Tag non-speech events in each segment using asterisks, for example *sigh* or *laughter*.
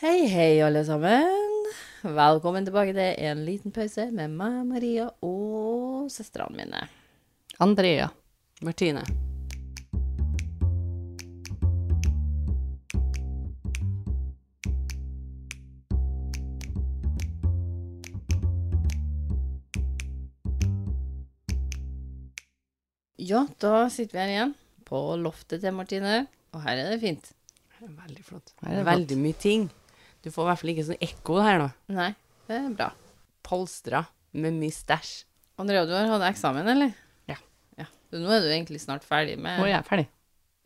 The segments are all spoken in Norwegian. Hei, hei, alle sammen. Velkommen tilbake til en liten pause med meg, Maria og søstrene mine. Andrea. Martine. Ja, da sitter vi her igjen på loftet til Martine, og her er det fint. Veldig flott. Her er det Veldig mye ting. Du får i hvert fall ikke sånn ekko her nå. Nei, det er bra. Polstra med mye stæsj. Andrea, du har hatt eksamen, eller? Ja. ja. Så nå er du egentlig snart ferdig med Nå er jeg ferdig.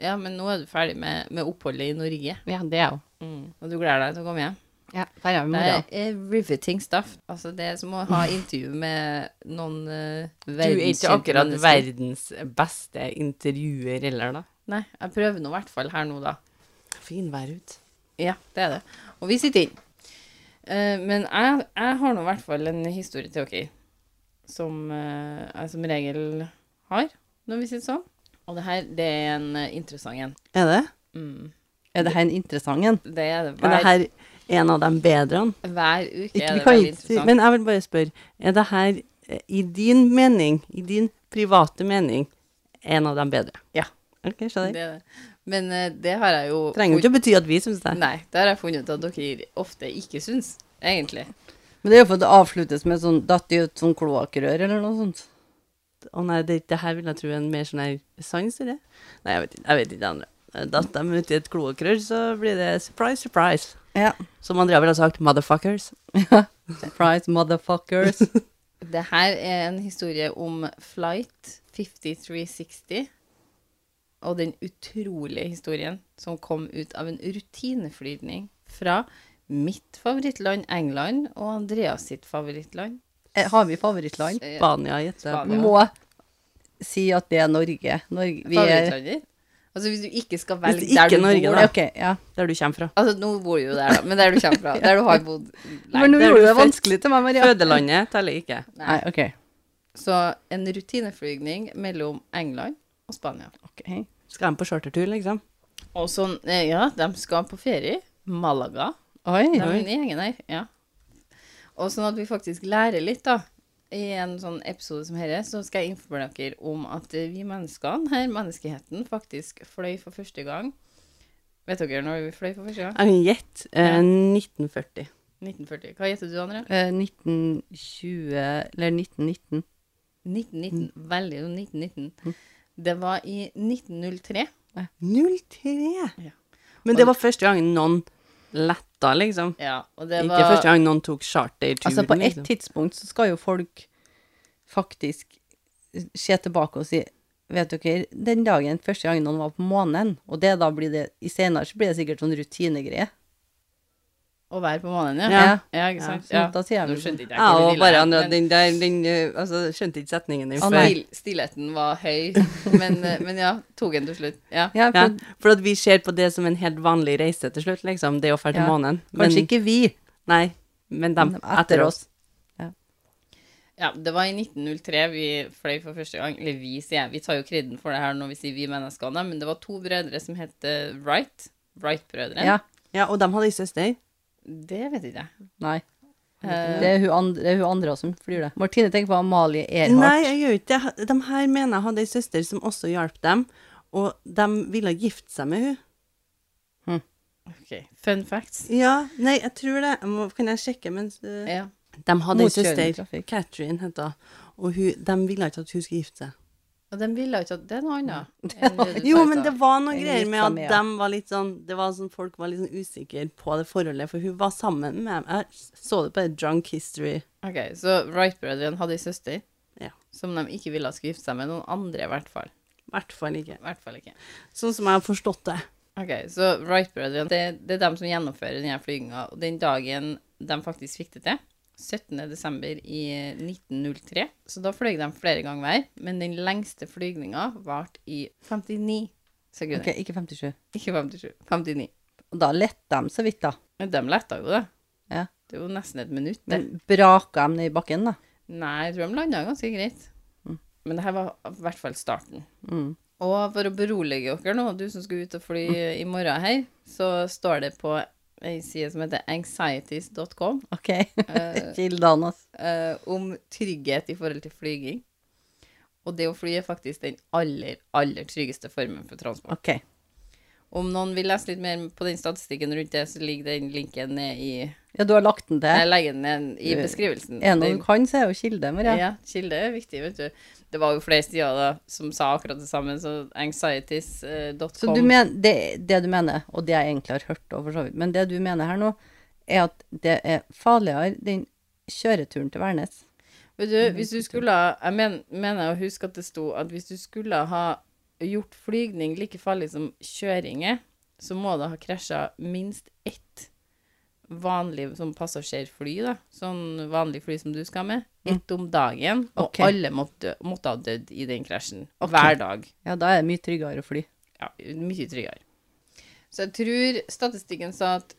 Ja, men nå er du ferdig med, med oppholdet i Norge. Ja, det er jeg òg. Og du gleder deg til å komme hjem. Ja, ferdig med Det morgenen. er riveting stuff. Altså, det er som å ha intervju med noen uh, Du er ikke verdenskjente akkurat mennesker. verdens beste intervjuer heller, da. Nei, jeg prøver nå i hvert fall her nå, da. Fin vær ut. Ja, det er det. Og vi sitter inn. Eh, men jeg, jeg har nå i hvert fall en historie til dere som eh, jeg som regel har når vi sitter sånn. Og det her, det er en eh, interessant en. Er det? Mm. Er det her en interessant en? Det er det Er det hver, her en av de bedre? hver uke. Ikke, er vi det kan veldig ikke si, interessant. men jeg vil bare spørre, er det her eh, i din mening, i din private mening, en av de bedre? Ja. Ok, skjønner jeg. det er det. Men eh, det har jeg jo Det trenger jo ikke å bety at vi syns det. Nei, det har jeg funnet ut at dere ofte ikke syns, egentlig. Men det er jo for at det avsluttes med sånn datt i et sånn kloakkrør eller noe sånt. Å nei, det, det her vil jeg tro er en mer sånn her sans, eller? Nei, jeg vet ikke, jeg vet ikke det andre. Datt dem ut i et kloakrør, så blir det surprise, surprise. Ja. Som Andrea ville ha sagt, motherfuckers. Surprise, motherfuckers. Det her er en historie om Flight 5360 og den utrolige historien som kom ut av en rutineflygning fra mitt favorittland England og Andreas sitt favorittland. Eh, Har vi favorittland? Eh, Spania, gjette. Spania. Må si at det er Norge. Norge vi er Favorittlandet ditt? Altså hvis du ikke skal Hvis velge det der du ikke er Norge, bor da. da. Ok, ja. Der du kommer fra. Altså nå bor du jo der, da, men der du kommer fra. Der du har *laughs* bodd Men nå lenge. der gjorde du du det født. vanskelig til meg, Maria. Fødelandet teller ikke. Nei, ok. Så en rutineflygning mellom England og Spania. Ok. Skal de på chartertur, liksom? Og sånn, eh, ja, de skal på ferie. Malaga. Oi. Det er den gjengen her, ja. Og sånn at vi faktisk lærer litt, da. I en sånn episode som dette, så skal jeg informere dere om at eh, vi menneskene, her menneskeheten, faktisk fløy for første gang. Vet dere når vi fløy for første gang? Jeg vil gjette eh, Ja. 1940. 1940. Hva gjetter du, André? Eh, 1920 Eller 1919. 1919. Veldig jo 1919. Det var i 1903. 03! Ja. Men det var første gang noen letta, liksom. Ja, og det Ikke var første gang noen tok charterturen. Altså, på et liksom. tidspunkt så skal jo folk faktisk se tilbake og si Vet dere, den dagen første gangen noen var på månen, og det da blir det i senere så blir det sikkert sånn rutinegreie. å være på månen, ja. Ja. Ja, ikke sant? så da sier jeg Nå vel- skjønte ikke jeg Ja, hvor du og ville bare hen, Andrea, men- den der den, eh, altså, Skjønte ikke setningen din Å, før. Stil, stillheten var høy, men, eh, men ja, tok en til slutt. Ja. Ja, for Ja, for at vi ser på det som en helt vanlig reise til slutt, liksom. Det å dra til Ja. månen. Kanskje Men, ikke vi. nei, men dem Men etter, oss. ja, det var i 1903 vi fløy for første gang. Eller vi, sier jeg. Vi tar jo kreden for det her når vi sier vi menneskene, men det var to brødre som het eh, Wright. Wright-brødrene. Ja. Ja, og de hadde ei søster. Det vet ikke jeg. Nei. Eh, Det er hun andre, det er hun andre som flyr det. Martine tenker på Amalie Nei, Ehrhardt. jeg gjør ikke det. De her mener jeg hadde ei søster som også hjalp dem, og de ville gifte seg med hun. ok. Fun facts. Ja, nei, jeg tror det. Jeg må, kan jeg sjekke mens eh, Ja. De hadde ei Motkjørende søster, trafikk. Katrin het hun, og hun, de ville ikke at hun skulle gifte seg. Og de ville ikke at Det er noe annet. *laughs* enn det du Jo, sa i men stad. det var noen En greier litt med at samme, ja. dem var litt sånn, det var sånn folk var litt sånn usikre på det forholdet, for hun var sammen med Jeg så det på Drunk History. Ok, Så Wright-brødrene hadde ei søster Ja. som de ikke ville skulle gifte seg med. Noen andre, i hvert fall. I hvert fall ikke. I hvert fall ikke. Sånn som jeg har forstått det. Ok, så Wright-brødrene, det, det er dem som gjennomfører denne flyginga. Og den dagen de faktisk fikk det til, 17. desember i eh, 1903, så da fløy de flere ganger hver, men den lengste flygninga varte i 59 Ok, sekunder. ikke 57. Ikke 57, 59. Og da lette de så vidt, da. Men de letta jo, det. Ja. Det er jo nesten et minutt. det. Men braka de ned i bakken, da. Nei, jeg tror de landa ganske greit. Men det her var i hvert fall starten. Mm. Og for å berolige dere nå, du som skal ut og fly i morgen her, så står det på eh, ei side som heter anxieties.com, OK. eh, *laughs* Kildene, altså. eh, om trygghet i forhold til flyging. Og det å fly er faktisk den aller, aller tryggeste formen for transport. OK. Om noen vil lese litt mer på den statistikken rundt det, så ligger den linken ned i Ja, Eh, du har lagt den Jeg til. legger den ned i beskrivelsen. Er det noe Den- du kan, så er jo kilde, Maria. Ja, kilde er viktig, vet du. Det var jo flere sider da, som sa akkurat det samme, så eh, anxieties.com Så du men, det, det du mener, og det jeg egentlig har hørt, og for så vidt, men det du mener her nå, er at det er farligere den kjøreturen til Værnes. Vet du, hvis du skulle ha- Jeg men, mener å huske at det sto at hvis du skulle ha gjort flygning like farlig som kjøring er, så må det ha krasja minst ett vanlig sånn passasjerfly, da. Sånn vanlig fly som du skal med. Ett om dagen. Og Mm. Ok. alle måtte, måtte ha dødd i den krasjen. Hver dag. Ja, da er det mye tryggere å fly. ja, mye tryggere. Så jeg tror statistikken sa at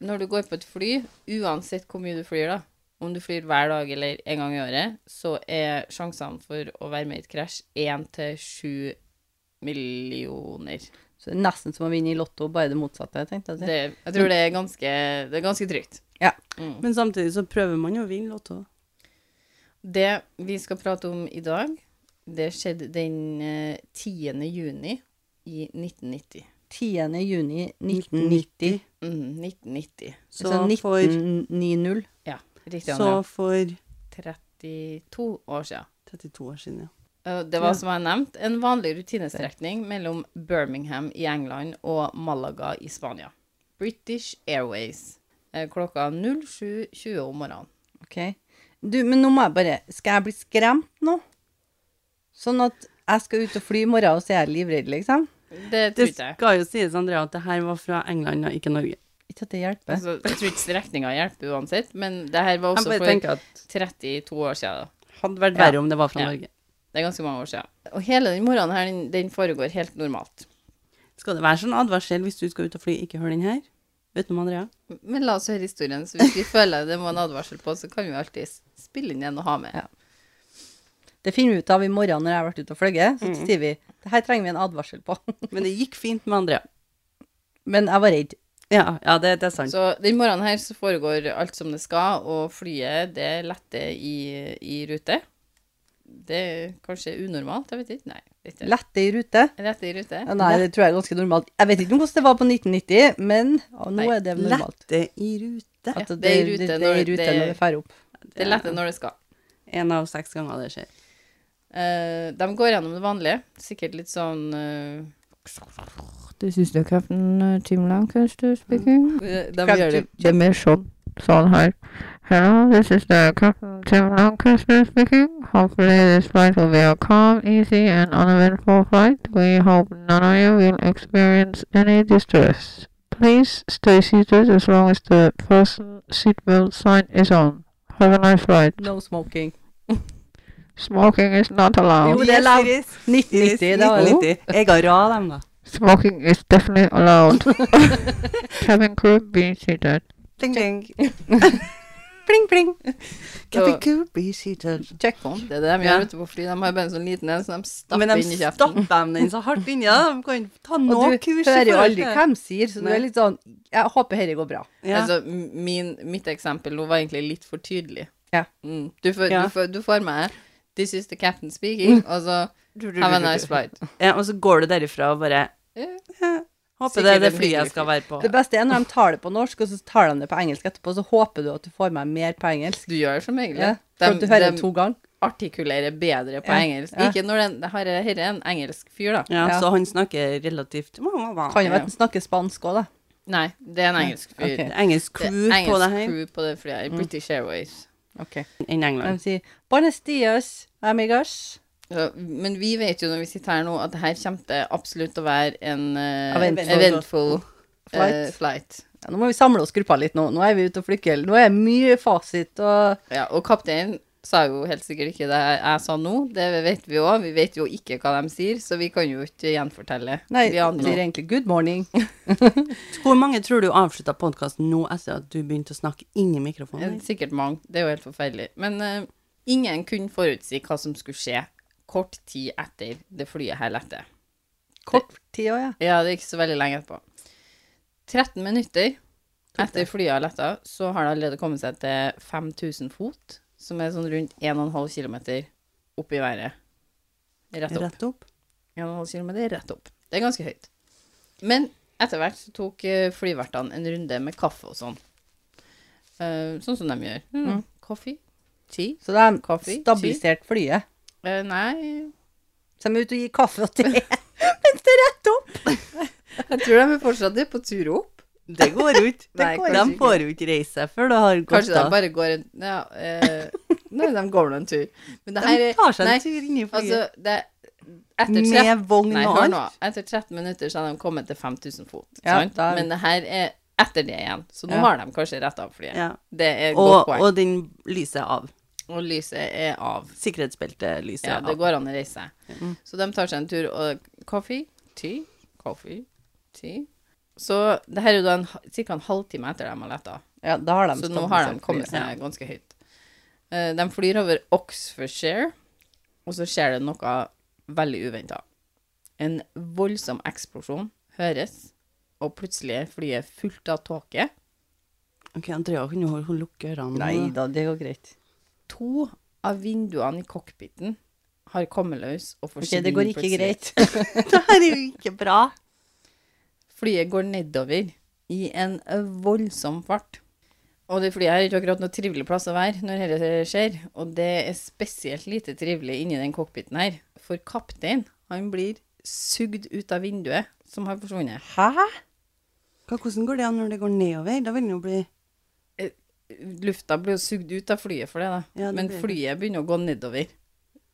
når du går på et fly, uansett hvor mye du flyr, da, om du flyr hver dag eller en gang i året, så er sjansene for å være med i et krasj 1 til 7 millioner. Så det er nesten som å vinne i lotto, bare det motsatte, tenkte jeg å si. Det, jeg tror det er ganske, det er ganske trygt. Ja. Mm. Men samtidig så prøver man jo å vinne lotto. Det vi skal prate om i dag, det skjedde den eh, 10. juni i 1990. 10. juni 1990. Mm, 1990. Så, Så for, 1990. Ja, riktig. så Andrea. for 32 år siden. 32 år siden, ja. Eh, Det var som jeg nevnte, en vanlig rutinestrekning mellom Birmingham i England og Malaga i Spania. British Airways. eh, Klokka 07.20 om morgenen. Ok. Du, men nå må jeg bare Skal jeg bli skremt nå? Sånn at jeg skal ut og fly i morgen, og så er jeg livredd, liksom? Det tror Det ikke jeg. skal jo sies, Andrea, at det her var fra England og ikke Norge. Ikke at det hjelper. Altså, jeg tror ikke strekninga hjelper uansett, men det her var Jeg også bare for tenker at 32 år siden. Da. hadde vært Ja. verre om det var fra Ja. Norge. Det er ganske mange år siden. Og hele den morgenen her, den, den foregår helt normalt. Skal det være sånn advarsel hvis du skal ut og fly, ikke hør den her? Utenom Andrea. Men la oss høre historien, så hvis vi føler det må en advarsel på, så kan vi alltid spille inn en og ha med. Ja. Det finner vi ut av i morgen når jeg har vært ute og fløyet. Så sier vi det her trenger vi en advarsel på. *laughs* Men det gikk fint med Andrea. Men jeg var redd. Ja, ja det, det er sant. Så den morgenen her så foregår alt som det skal, og flyet det letter i, i rute. Det er kanskje unormalt, jeg vet ikke. Nei, vet ikke. Lette i rute. Letter i rute. Ja, nei, det tror jeg er ganske normalt. Jeg vet ikke hvordan det var på 1990, men ja, nå Nei, er det normalt. Lette i rute. At Ja, det, er i rute når det, det- når det drar opp. Det letter når det skal. En av seks ganger det skjer. Eh, de går gjennom det vanlige. Sikkert litt sånn Du syns det er kraften uh, Timlan, kanskje, speaking? Mm. De Kan gjør gjør du- det. det- Det er mer sånn, sånn her. Hello, this is the captain Tim Lancaster speaking. Hopefully this flight will be a calm, easy, and uneventful flight. We hope none of you will experience any distress. Please stay seated as long as the fasten seatbelt sign is on. Have a nice flight. No smoking. Smoking is not Jo, allowed. det er lov. 1990, det var det. Jeg ga rad dem, da. Smoking is definitely allowed. Cabin crew, be seated. Pling, pling. *laughs* Pling, pling. Captain Cool, be seated. Check on. Det er det de Ja. gjør ute på fly. De har bare en sånn liten en, så de Men stapper de inn i kjeften. stapper dem den så hardt inni. ja. De kan ta Og noe du kurs. i hører jo forhold aldri til- hva de sier, så du Nei. er litt sånn Jeg håper dette går bra. Ja. Altså, m- min, mitt eksempel nå var egentlig litt for tydelig. Ja. Mm. Mm. Du, får, Ja. du, får, du får meg This is the captain speaking, og så Have a nice flight. Ja, og så går du derifra og bare Ja. ja, Sikkert Håper det er det en flyet jeg hyggelig skal være på. Det beste er når de tar det på norsk, og så tar de det på engelsk etterpå, så håper du at du får meg mer på engelsk. Du gjør som egentlig. Ja, for De, at du hører det de to ganger. artikulerer bedre på Ja, engelsk. ja. Ikke når den har dette er en engelsk fyr, da. Ja, Ja. Så han snakker relativt Hva, hva, hva? Kan jo være Ja. at den snakker spansk òg, da. Nei, det er en engelsk fyr. ok. Det er Engelsk Det er crew på engelsk det her crew på det flyet. Mm. i British Airways. Ok. enn De England. sier 'Buenos dias, amigos'. Så, men vi vet jo når vi sitter her nå, at det her kommer til absolutt å være en eh, Eventful. eventful Flight. eh, flight. Ja, nå må vi samle oss gruppa litt nå. Nå er vi ute og flykker. Nå er det mye fasit og Ja, og kapteinen sa jo helt sikkert ikke det jeg sa nå, det vet vi òg. Vi vet jo ikke hva de sier, så vi kan jo ikke gjenfortelle. Nei, vi det aner sier jo. egentlig 'good morning'. Hvor mange tror du avslutta podkasten nå etter at du begynte å snakke inn i Det mikrofonen? er Sikkert mange. Det er jo helt forferdelig. Men eh, ingen kunne forutsi hva som skulle skje kort tid etter det flyet her lette. Kort tid òg, ja. Ja, det er ikke så veldig lenge etterpå. 13 minutter Etter flyet har letta, så har det allerede kommet seg til 5000 fot, som er sånn rundt 1,5 km opp i været. Rett opp. Rett opp. 1,5 km rett opp. Det er ganske høyt. Men etter hvert så tok eh, flyvertene en runde med kaffe og sånn. Eh, sånn som de gjør. Mm. Coffee. Tea. Så de Kaffe, stabiliserte flyet. Eh, nei, Så de er ute og gir kaffe og te. *laughs* jeg tror de er fortsatt er på tur opp. Det går jo ikke. *laughs* Nei, de kanskje ikke. får jo ikke reise seg før det har gått Kanskje de av. bare går en ja, eh, *laughs* Nei, de går nå en tur. Men det her De er tar seg nei, en tur inn i flyet. Altså, det, etter Med 13, vogn nei, og hør nå. alt. Etter 13 minutter så har de kommet til 5000 fot. Ja, sant? da er vi- Men det her er etter det igjen, så nå Ja. har de kanskje rett av flyet. Ja. Det er et godt Og, poeng. og den lyset er av. Og, lyset er av. Sikkerhetsbeltet lyset Ja, er det av. går an å reise seg. Mm. Så de tar seg en tur og Coffee, tea, coffee, tea. Så det her er jo da en, cirka en halvtime etter de har letta. Ja, da har de Så nå har de stabilisert kommet flyet. seg ganske høyt. Eh, De flyr over Oxfordshire, og så skjer det noe veldig uventa. En voldsom eksplosjon høres, og plutselig er flyet fullt av tåke. Ok, Andrea kunne jo holde- hun lukke ørene. nå, Nei da. da, det går greit. To av vinduene i cockpiten har kommet løs og Ok, forsvinner det går ikke plutselig. greit. *laughs* *laughs* Det her er jo ikke bra. Flyet går nedover i en voldsom fart. Og det flyet her er ikke akkurat noe trivelig plass å være når dette skjer, og det er spesielt lite trivelig inni den cockpiten her. For kapteinen, han blir sugd ut av vinduet som har forsvunnet. Hæ? Hva, hvordan går det an når det går nedover? Da vil den jo bli Lufta blir jo sugd ut av flyet for det, da. Ja, det Men blir det. flyet begynner å gå nedover.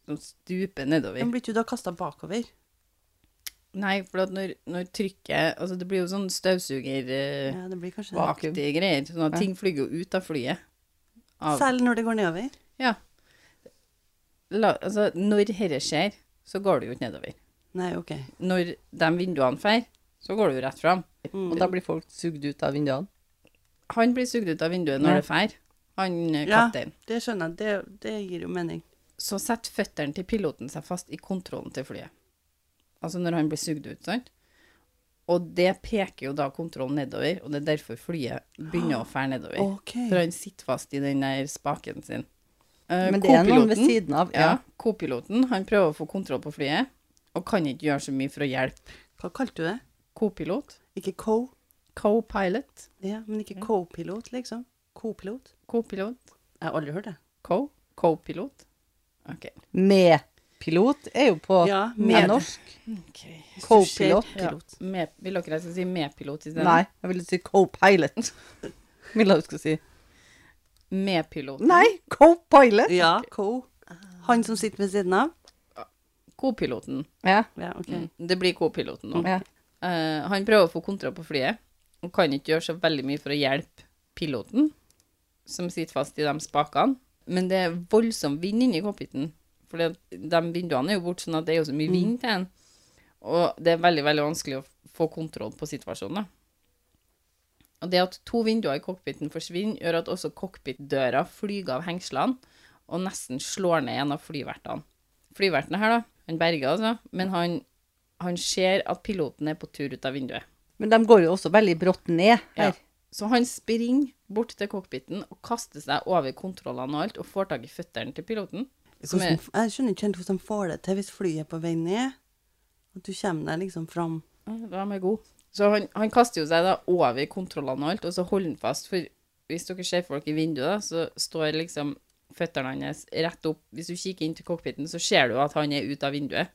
Sånn stuper nedover. Den blir ikke da kasta bakover. Nei, for at når, når trykket Altså, det blir jo sånn støvsugeraktige Ja, det blir kanskje Hva? vakuum. greier. Sånn at ting flyr jo ut av flyet. Av Selv når det går nedover. Ja. La, altså, når dette skjer, så går det jo ikke nedover. Nei, OK. Når de vinduene fer, så går det jo rett fram. Mm. Og da blir folk sugd ut av vinduene. Han blir sugd ut av vinduet når det fer, han eh, Ja. kapteinen. Det skjønner jeg. Det, det gir jo mening. Så setter føttene til piloten seg fast i kontrollen til flyet. Altså når han blir sugd ut, sant? Og det peker jo da kontrollen nedover, og det er derfor flyet begynner å fære nedover. OK. For han sitter fast i den der spaken sin. Eh, Men det er noen ved kopiloten- siden av. Ja, kopiloten, han prøver å få kontroll på flyet, og kan ikke gjøre så mye for å hjelpe. Hva kalte du det? Kopilot, Ikke co, co-pilot, ja, men Hm? ikke co-pilot, liksom. Co-pilot. co-pilot, Jeg har aldri hørt det. co, co-pilot. Ok. Med pilot er jo på Ja, med med- norsk. Hvis du ser- Co-pilot. Ja, Pilot. med, vil dere jeg skal si med-pilot i stedet? Nei, jeg ville *laughs* si co-pilot. Ville jeg skulle si. Med-pilot. Nei, co-pilot! Ja, co. Han som sitter ved siden av? Co-piloten. Ja. Ja, OK. Det blir co-piloten nå. ja. Eh, han prøver å få kontroll på flyet, og kan ikke gjøre så veldig mye for å hjelpe piloten, som sitter fast i de spakene. Men det er voldsom vind inni cockpiten, for de vinduene er jo borte, sånn at det er jo så mye vind til den. Og det er veldig, veldig vanskelig å få kontroll på situasjonen, da. Og det at to vinduer i cockpiten forsvinner, gjør at også cockpitdøra flyger av hengslene og nesten slår ned en av flyvertene. Flyverten her, da, han berger altså, men han han ser at piloten er på tur ut av vinduet. Men de går jo også veldig brått ned Ja. her. Så han springer bort til cockpiten og kaster seg over kontrollene og alt, og får tak i føttene til piloten. Som Hvordan, er, jeg skjønner ikke helt hvordan de får det til hvis flyet er på vei ned. At du kommer deg liksom fram. de er god. Så han, han kaster jo seg da over kontrollene og alt, og så holder han fast. For hvis dere ser folk i vinduet, da, så står liksom føttene hans rett opp. Hvis du kikker inn til cockpiten, så ser du at han er ute av vinduet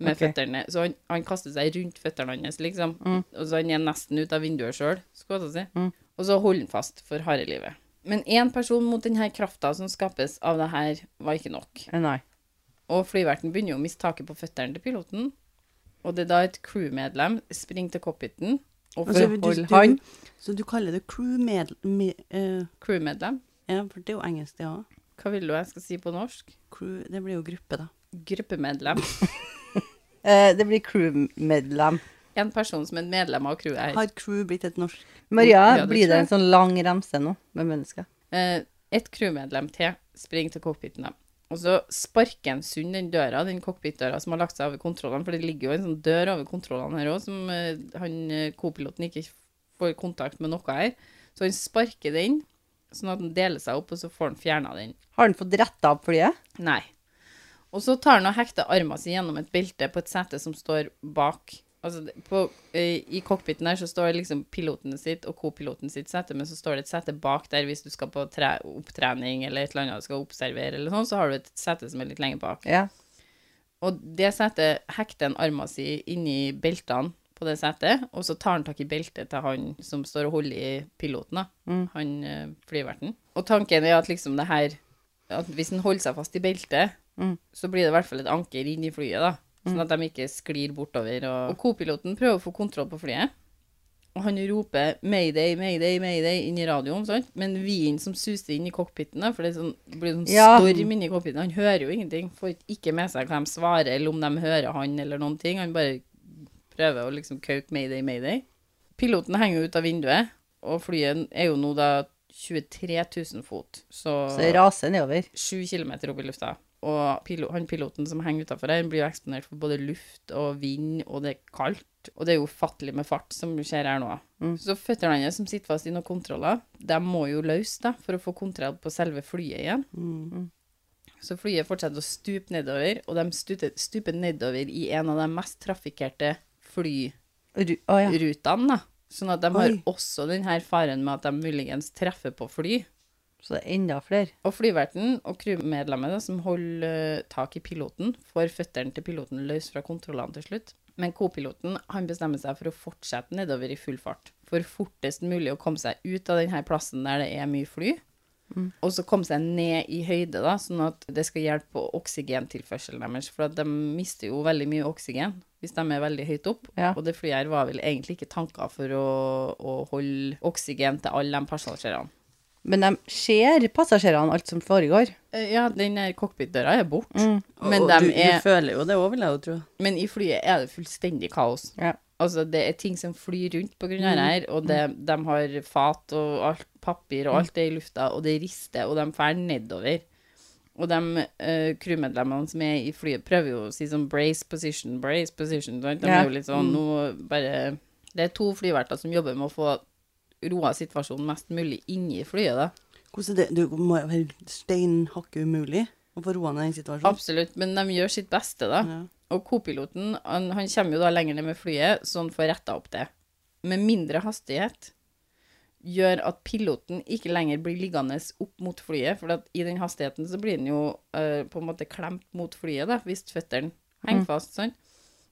med Ok. føttene. Så han, han kaster seg rundt føttene hans, liksom. Og så han er nesten ute av vinduet sjøl, skulle jeg til å si. Og så holder han fast for harde livet. Men én person mot denne krafta som skapes av det her, var ikke nok. Eh, Nei. Og flyverten begynner jo å miste taket på føttene til piloten. Og det er da et crewmedlem springer til cockpiten og Altså, får du- holde du- han. Så du kaller det crew med... med eh, crewmedlem. ja, for det er jo engelsk, det òg. Hva vil du jeg skal si på norsk? Crew, det blir jo gruppe, da. Gruppemedlem. *laughs* Eh, det blir crewmedlem. En person som er et medlem av crewet her. Har crew blitt et norsk Maria, Ja, det blir tror det jeg. en sånn lang remse nå med mennesker? Eh, et crewmedlem til springer til cockpiten, da. Og så sparker han sund den døra, den cockpitdøra som har lagt seg over kontrollene, for det ligger jo en sånn dør over kontrollene her òg, som eh, han eh, co-piloten ikke får kontakt med noe her. Så han sparker den, sånn at den deler seg opp, og så får han fjerna den. Har han fått retta opp flyet? Nei. Og så tar han og hekter armen sin gjennom et belte på et sete som står bak. Altså, det- på, eh, I cockpiten der så står liksom piloten sitt og kopiloten sitt sete, men så står det et sete bak der hvis du skal på tre, opptrening eller et eller annet du skal observere, eller sånn, så har du et sete som er litt lenger bak. Ja. Og det setet hekter en armen sin inni beltene på det setet, og så tar han tak i beltet til han som står og holder i piloten, da. han eh, flyverten. Og tanken er at liksom det her at hvis den holder seg fast i beltet, Mm. så blir det i hvert fall et anker inn i flyet, da. Sånn at de ikke sklir bortover. Og, og kopiloten prøver å få kontroll på flyet. Og han roper 'mayday, mayday, mayday' inn i radioen, sant? men vinen som suser inn i cockpiten, da, for det er sånn, det blir sånn Ja. storm inni cockpiten, han hører jo ingenting. Får ikke med seg hva de svarer, eller om de hører han, eller noen ting. Han bare prøver å liksom kauke 'mayday, mayday'. Piloten henger jo ut av vinduet, og flyet er jo nå da 23 000 fot. Så, Så det raser nedover. sju kilometer opp i lufta. Og pilo han piloten som henger utafor her, blir jo eksponert for både luft og vind, og det er kaldt. Og det er jo ufattelig med fart som skjer her nå. Mm. Så føttene hans som sitter fast i noen kontroller, de må jo løs da, for å få kontroll på selve flyet igjen. Mm. Så flyet fortsetter å stupe nedover, og de stuter, stuper nedover i en av de mest trafikkerte fly Ru- Å ja. rutene, da. Sånn at de har Oi. også denne faren med at de muligens treffer på fly. Så det er enda flere. Og flyverten og crewmedlemmet da, som holder eh, tak i piloten, får føttene til piloten løs fra kontrollene til slutt. Men kopiloten han bestemmer seg for å fortsette nedover i full fart. For fortest mulig å komme seg ut av denne plassen der det er mye fly. Og så komme seg ned i høyde, da, sånn at det skal hjelpe på oksygentilførselen deres. For at de mister jo veldig mye oksygen hvis de er veldig høyt opp. Ja. Og det flyet her var vel egentlig ikke tanka for å, å holde oksygen til alle de passasjerene. Men de ser passasjerene alt som foregår. Eh, Ja, den der cockpitdøra er borte. Men, Og dem du, er, du føler jo det òg, vil jeg jo tro. men i flyet er det fullstendig kaos. Ja. Altså, det er ting som flyr rundt på grunn av det her, og det, de har fat og alt, papir og alt det i lufta, og det rister, og de fer nedover. Og de eh, crewmedlemmene som er i flyet, prøver jo å si sånn 'brace position', 'brace position'. sant? De Ja. er jo litt sånn nå bare Det er to flyverter som jobber med å få roa situasjonen mest mulig inni flyet, da. Hvordan er det? Du må jo være steinhakke umulig å få roa ned i en situasjon. Absolutt, men de gjør sitt beste, da. Ja. Og kopiloten, han, han kommer jo da lenger ned med flyet, så han får retta opp det. Med mindre hastighet gjør at piloten ikke lenger blir liggende opp mot flyet, for at i den hastigheten så blir den jo eh, på en måte klemt mot flyet, da, hvis føttene Mm. henger fast, sånn.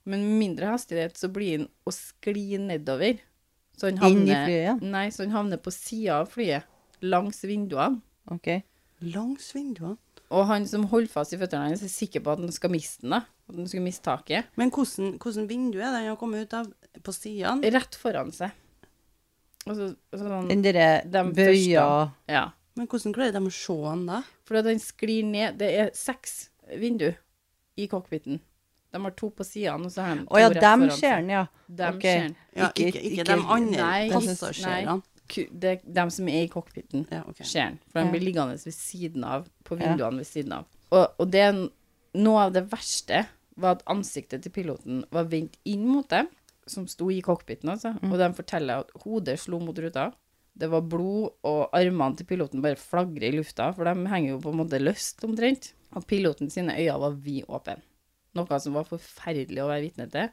Men med mindre hastighet så blir den å skli nedover. Så han Inn i havner, flyet? Nei, så han havner på sida av flyet, langs vinduene. Ok. Langs vinduene. Og han som holder fast i føttene hans, er sikker på at han skal miste den, da. At han skal miste taket. Men hvordan, hvordan vindu er det han har kommet ut av? På sidene? rett foran seg. Og så, og så sånn, Den derre De bøya ja. Men hvordan klarer de å se han da? For at den sklir ned. Det er seks vindu i cockpiten. De har to på sidene, og så har de to Å ja, rett dem foran seg. ser den, ja. Dem Ok. ser den. Ja, Ikke- ikke, ikke, ikke- de andre Nei, passasjerene. nei. Ku- Det er dem som er i cockpiten. Ja, ok. skjer den. For Ja. den blir liggende ved siden av, på Ja. vinduene ved siden av. Og, og det, er n- noe av det verste var at ansiktet til piloten var vendt inn mot dem, som sto i cockpiten, altså. Mm. Og de forteller at hodet slo mot ruta. Det var blod, og armene til piloten bare flagrer i lufta, for de henger jo på en måte løst omtrent. Og piloten sine øyne var vid åpne. Noe som var forferdelig å være vitne til.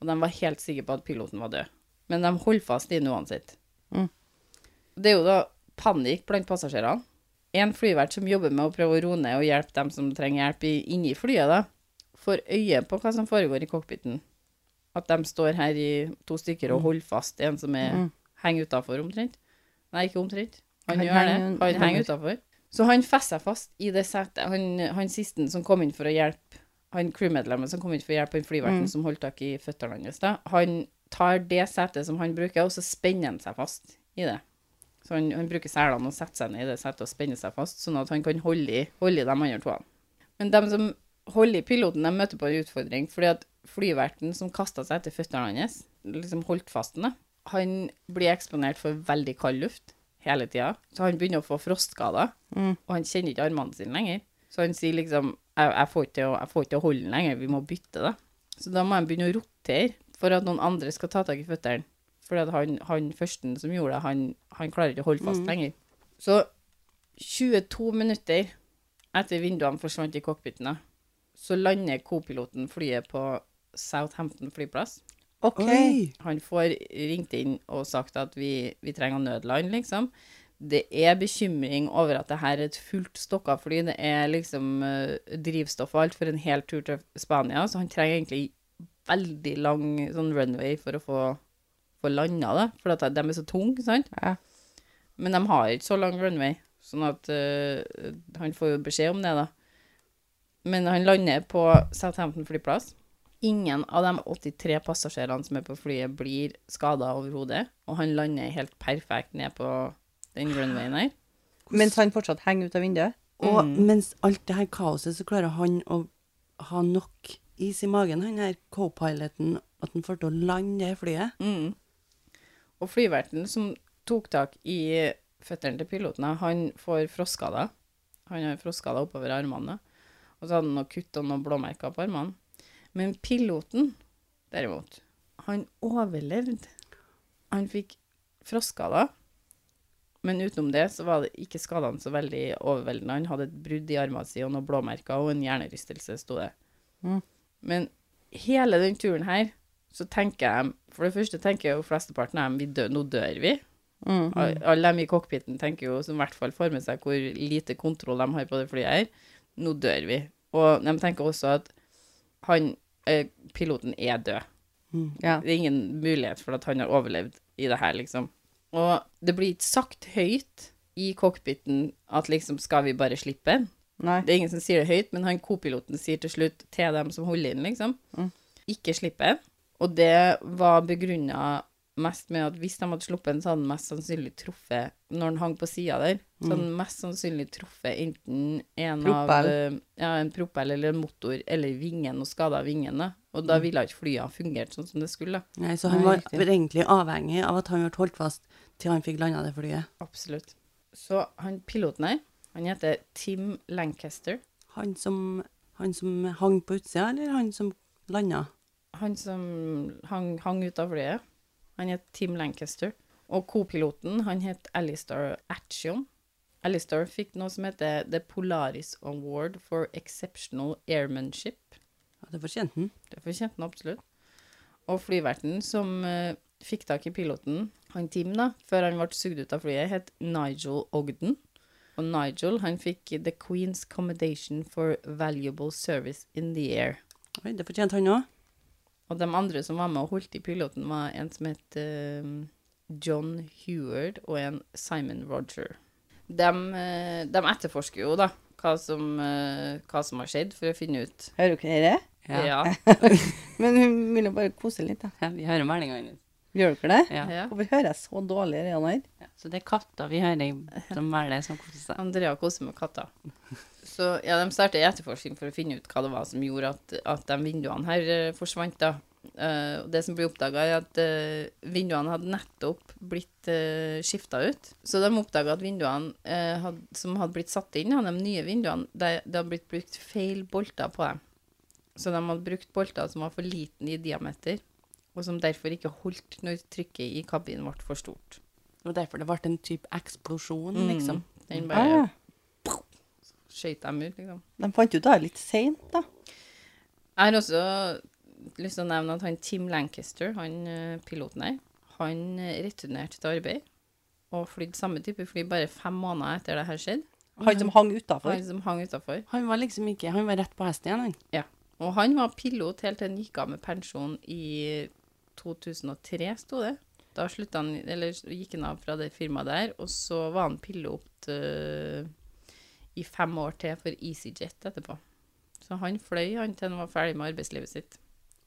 Og de var helt sikre på at piloten var død. Men de holdt fast i den uansett. Det er jo da panikk blant passasjerene. En flyvert som jobber med å prøve å roe ned og hjelpe dem som trenger hjelp i- inni flyet, da, får øye på hva som foregår i cockpiten. At de står her i to stykker og holder fast en som er, henger utafor omtrent. Nei, ikke omtrent. Han, Han gjør det. henger- Han henger utafor. Så han fester seg fast i det setet. Han, han sisten som kom inn for å hjelpe han crewmedlemmet som kom inn for å hjelpe han flyverten som holdt tak i føttene hans, da, han tar det setet som han bruker, og så spenner han seg fast i det. Så han, han bruker selene og setter seg ned i det setet og spenner seg fast, sånn at han kan holde i, holde i de andre toene. Men de som holder i piloten, de møter på en utfordring, fordi at flyverten som kasta seg etter føttene hans, liksom holdt fast den, da, han blir eksponert for veldig kald luft hele tida, så han begynner å få frostskader, og han kjenner ikke armene sine lenger. Så han sier liksom jeg, jeg, får ikke til å, 'Jeg får ikke til å holde den lenger, vi må bytte det'. Så da må han begynne å rotere for at noen andre skal ta tak i føttene. Fordi at han, han førsten som gjorde det, han, han klarer ikke å holde fast lenger. Så 22 minutter etter vinduene forsvant i cockpitene, så lander kopiloten flyet på Southampton flyplass. OK. Oi. Han får ringt inn og sagt at vi, vi trenger nødland, liksom. Det er bekymring over at det her er et fullt stokka fly. Det er liksom eh, drivstoff og alt for en hel tur til Spania, så han trenger egentlig veldig lang sånn runway for å få, få landa det, for at de er så tunge, sant? Ja. Men de har ikke så lang runway, sånn at eh, han får jo beskjed om det, da. Men han lander på Southampton flyplass. Ingen av de 83 passasjerene som er på flyet, blir skada overhodet, og han lander helt perfekt ned på den runwayen her. Mens han fortsatt henger ut av vinduet. Og Mm. mens alt det her kaoset, så klarer han å ha nok is i magen, han her co-piloten, at han får til å lande det flyet. Mm. Og flyverten som tok tak i føttene til pilotene, han får frostskader. Han har frostskader oppover armene. Og så hadde han noe kutt og noen blåmerker på armene. Men piloten, derimot, han overlevde. Han fikk frostskader. Men utenom det så var det ikke skadene så veldig overveldende. Han hadde et brudd i armene sine og noen blåmerker og en hjernerystelse, sto det. Mm. Men hele den turen her, så tenker jeg For det første tenker jo flesteparten av dem vi dør, nå dør vi. Mm. Al- Alle dem i cockpiten tenker jo, som i hvert fall får med seg hvor lite kontroll de har på det flyet her, nå dør vi. Og de tenker også at han, eh, piloten er død. Ja. Det er ingen mulighet for at han har overlevd i det her, liksom. Og det blir ikke sagt høyt i cockpiten at liksom, skal vi bare slippe den? Nei. Det er ingen som sier det høyt, men han kopiloten sier til slutt til dem som holder inn, liksom. Ikke slippe den. Og det var begrunna mest med at hvis de hadde sluppet den, så hadde den mest sannsynlig truffet Når den hang på sida der, så hadde den mest sannsynlig truffet enten en av Propell. eh, Ja, en propell eller en motor eller vingen, og skada vingen, da. Og da ville ikke flyene fungert sånn som det skulle. da. Nei, så han Nei, var riktig. egentlig avhengig av at han ble holdt fast til han fikk landa det flyet. Absolutt. Så han piloten her, han heter Tim Lancaster. Han som, han som hang på utsida, eller han som landa? han som hang, hang ut av flyet, han het Tim Lancaster. Og co-piloten, han het Alistair Action. Alistair fikk noe som heter The Polaris Award for Exceptional Airmanship. Ja, Det fortjente han. Det fortjente han absolutt. Og flyverten som eh, fikk tak i piloten, han Tim, da, før han ble sugd ut av flyet, het Nigel Ogden. Og Nigel han fikk The Queen's Commendation for Valuable Service in the Air. Oi, det fortjente han òg. Og de andre som var med og holdt i piloten, var en som het eh, John Heward og en Simon Roger. De, eh, de etterforsker jo da hva som, eh, hva som har skjedd, for å finne ut. Hører dere det? Ja. Men hun vil jo bare kose litt, da. vi hører meldinga hennes. Gjør dere det? ja. ja. Hvorfor hører jeg så dårlig Rian her? Så det er katter vi hører som melder, som koser seg. Andrea koser med katter. Så ja, de startet en etterforskning for å finne ut hva det var som gjorde at, at de vinduene her eh, forsvant. da. Eh, og det som ble oppdaga, er at eh, vinduene hadde nettopp blitt uh, skifta ut. Så de oppdaga at vinduene eh, hadde, som hadde blitt satt inn, ja, de nye vinduene, det, det hadde blitt brukt feil bolter på dem. Så de hadde brukt bolter som var for liten i diameter, og som derfor ikke holdt når trykket i kabinen ble for stort. Og derfor det ble en type eksplosjon, Mm. liksom. Den Sånn, Ah, bare ja. skøyt dem ut, liksom. De fant ut det her litt seint, da. Jeg har også lyst til å nevne at han Tim Lancaster, han eh, piloten her, han eh, returnerte til arbeid og flydde samme type fly bare fem måneder etter det her skjedde. Han som hang utafor. Han som hang utafor. Han var liksom ikke Han var rett på hesten igjen, han. Ja. Og han var pilot helt til han gikk av med pensjon i 2003, sto det. Da slutta han, eller gikk han av fra det firmaet der, og så var han pilot eh, i fem år til for EasyJet etterpå. Så han fløy han til han var ferdig med arbeidslivet sitt.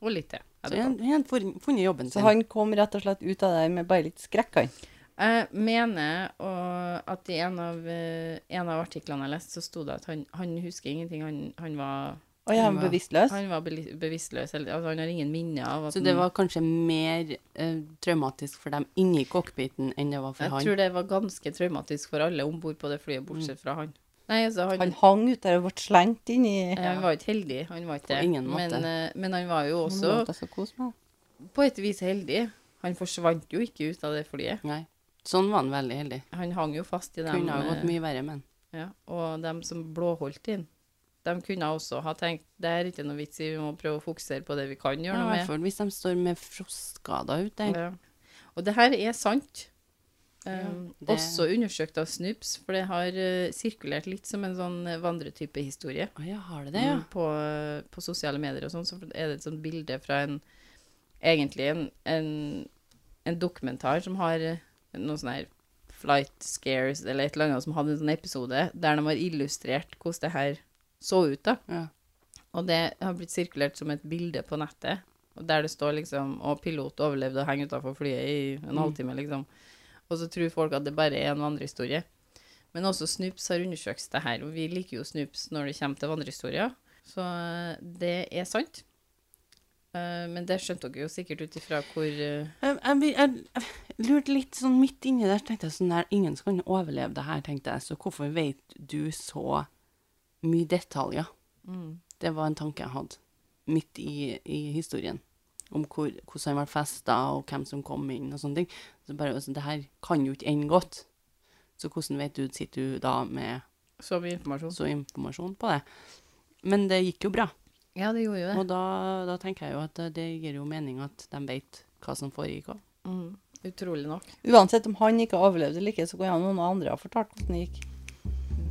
Og litt til. Så han han hadde funnet- funnet jobben Så sin. han kom rett og slett ut av det her med bare litt skrekk, han. Jeg mener og at i en av, eh, en av artiklene jeg leste, så sto det at han, han husker ingenting. Han, han var, Og jeg er bevisstløs. han var beli- bevisstløs. eller- Altså, han har ingen minner av at Så det han- var kanskje mer eh, traumatisk for dem inni cockpiten enn det var for Jeg han. Mm. tror det var ganske traumatisk for alle om bord på det flyet, bortsett fra han. Nei, altså, han, Han hang ut der og ble slengt inn i eh, han var ikke heldig. Han var ikke På det. ingen måte. Men, eh, men han var jo også Jeg skal kose meg. på et vis heldig. Han forsvant jo ikke ut av det flyet. Nei. Sånn var han veldig heldig. Han hang jo fast i dem. Kunne ha eh, gått mye verre, men Ja, og de som blåholdt inn, de kunne også ha tenkt det er ikke noe vits i, vi må prøve å fokusere på det vi kan ja, gjøre i noe hvert med. fall hvis de står med frostskader ute der. Ja. Og det her er sant. Um, det- Også undersøkt av Snoops, for det har eh, sirkulert litt som en sånn eh, vandretype historie Å ja, har det det, ja? mm, på, eh, på sosiale medier og sånn. Så er det et sånt bilde fra en Egentlig en, en, en dokumentar som har eh, noen sånne her flight scares eller et eller annet som hadde en sånn episode der de har illustrert hvordan det her så ut, da. ja. Og det har blitt sirkulert som et bilde på nettet, og der det står liksom Og pilot overlevde og henger utafor flyet i Mm. en halvtime, liksom. Og så tror folk at det bare er en vandrehistorie. Men også Snoops har undersøkt det her, og vi liker jo Snoops når det kommer til vandrehistorier. Så eh, det er sant. Eh, Men det skjønte dere jo sikkert ut ifra hvor eh, Jeg, jeg, blir- jeg, jeg lurte litt sånn midt inni der, så tenkte jeg sånn der, ingen skal kunne overleve det her, tenkte jeg, så hvorfor vet du så mye detaljer? Mm. Det var en tanke jeg hadde, midt i, i historien, om hvor, hvordan han var festa, og hvem som kom inn, og sånne ting. Så bare, altså, det her kan jo ikke ende godt. Så hvordan vet du, sitter du da med Så mye informasjon. så informasjon på det? Men det gikk jo bra, Ja, det gjorde jo det. og da, da tenker jeg jo at det gir jo mening at de vet hva som foregikk også. Mm. Utrolig nok. Uansett om han ikke overlevde eller ikke, så kan jo noen andre ha fortalt hvordan det gikk.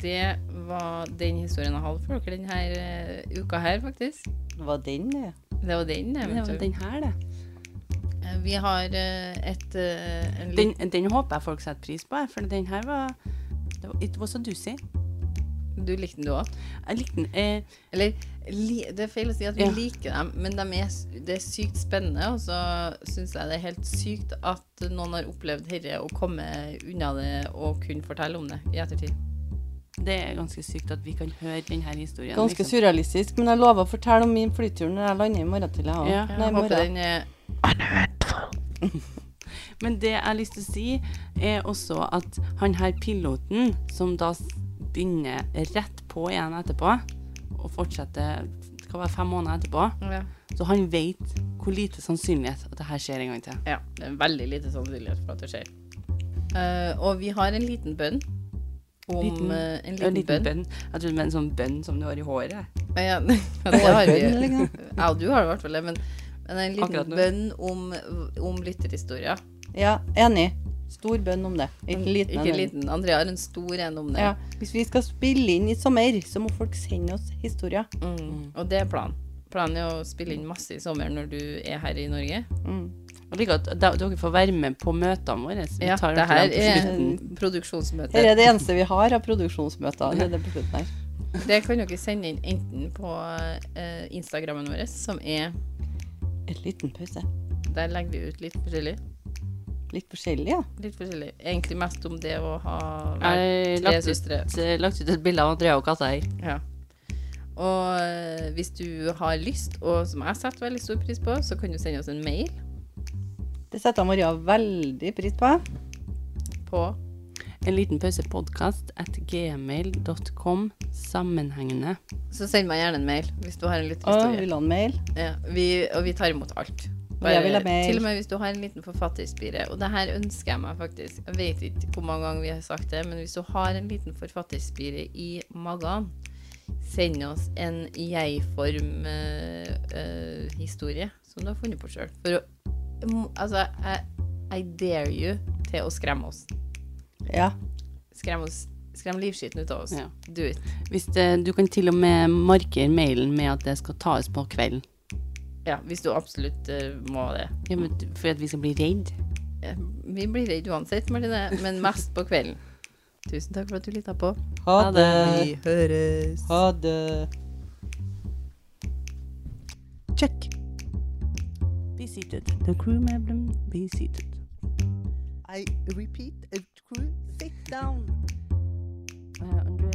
Det var den historien jeg hadde for dere denne eh, uka her, faktisk. Det var den, det. Det var den. jeg Det vet var du. den her, det. Eh, Vi har eh, et eh, en Den, den håper jeg folk setter pris på, jeg, for den her var det var, It was a doozy. liten- Du likte den, du òg? Jeg likte den. Eh, Eller li, Det er feil å si at vi Ja. liker dem, men de er, s- det er sykt spennende. Og så syns jeg det er helt sykt at noen har opplevd dette og kommet unna det og kunne fortelle om det i ettertid. det er ganske sykt at vi kan høre den her historien. Ganske liksom. surrealistisk, men jeg lover å fortelle om min flytur når jeg lander i morgen til jeg også. Ja. Jeg Nei, i håper morgen. den er Men det jeg har lyst til å si, er også at han her piloten, som da s- begynner rett på igjen etterpå, og fortsetter det kan være fem måneder etterpå, ja, så han vet hvor lite sannsynlighet at det her skjer en gang til. ja, det er veldig lite sannsynlighet for at det skjer. Eh, og vi har en liten bønn om Liten- eh, En En liten liten bønn. bønn. Jeg trodde det var en sånn bønn som du har i håret. Ja, *laughs* det har vi. Hårbønn, liksom. Ja, du har det i hvert fall det, men, men en liten Akkurat nå. bønn om, om lytterhistorier. Ja, enig. Stor bønn om det. Ikke liten. Ikke en. liten. Andrea har en stor en om det. Ja. Hvis vi skal spille inn i sommer, så må folk sende oss historier. Mm. Og det er planen. Planen er å spille inn masse i sommer når du er her i Norge. Mm. Jeg liker at da- dere får være med på møtene våre. så vi Ja, tar det dere her dem på er slutten. produksjonsmøte. Dette er det eneste vi har av produksjonsmøter. Det er det på slutten her. Det kan dere sende inn enten på eh, Instagrammen vår, som er En liten pause. Der legger vi ut litt forskjellig. Litt forskjellig, ja. Litt forskjellig. Egentlig mest om det å ha vært Jeg tre lagt ut, søstre. eh, lagt ut et bilde av Andrea og katta her. Ja. Og eh, hvis du har lyst, og som jeg setter veldig stor pris på, så kan du sende oss en mail Det setter Maria veldig pris på. på En liten pause podcast at gmail.com sammenhengende. Så send meg gjerne en mail hvis du har en Og lytterhistorie. vil ha en mail. Ja, vi, og vi tar imot alt. jeg vil ha mail. til og med hvis du har en liten forfatterspire. Og det her ønsker jeg meg faktisk. Jeg vet ikke hvor mange ganger vi har sagt det, men hvis du har en liten forfatterspire i magen, send oss en jeg-form-historie som du har funnet på sjøl. For å mm, Altså, I, I dare you til å skremme oss. Ja. Skremme oss. Skrem livskiten ut av oss. Ja. Do it. Hvis det, du kan til og med markere mailen med at det skal tas på kvelden. Ja, hvis du absolutt eh, må det. Ja, men du- For at vi skal bli redd. Eh, Vi blir redde uansett, Martine, men mest på kvelden. Tusen takk for at du lytta på. Ha det. høres. Ha det. Check. Be seated. The crew member, be seated. I repeat, uh, crew, sit down. Eh, Andrea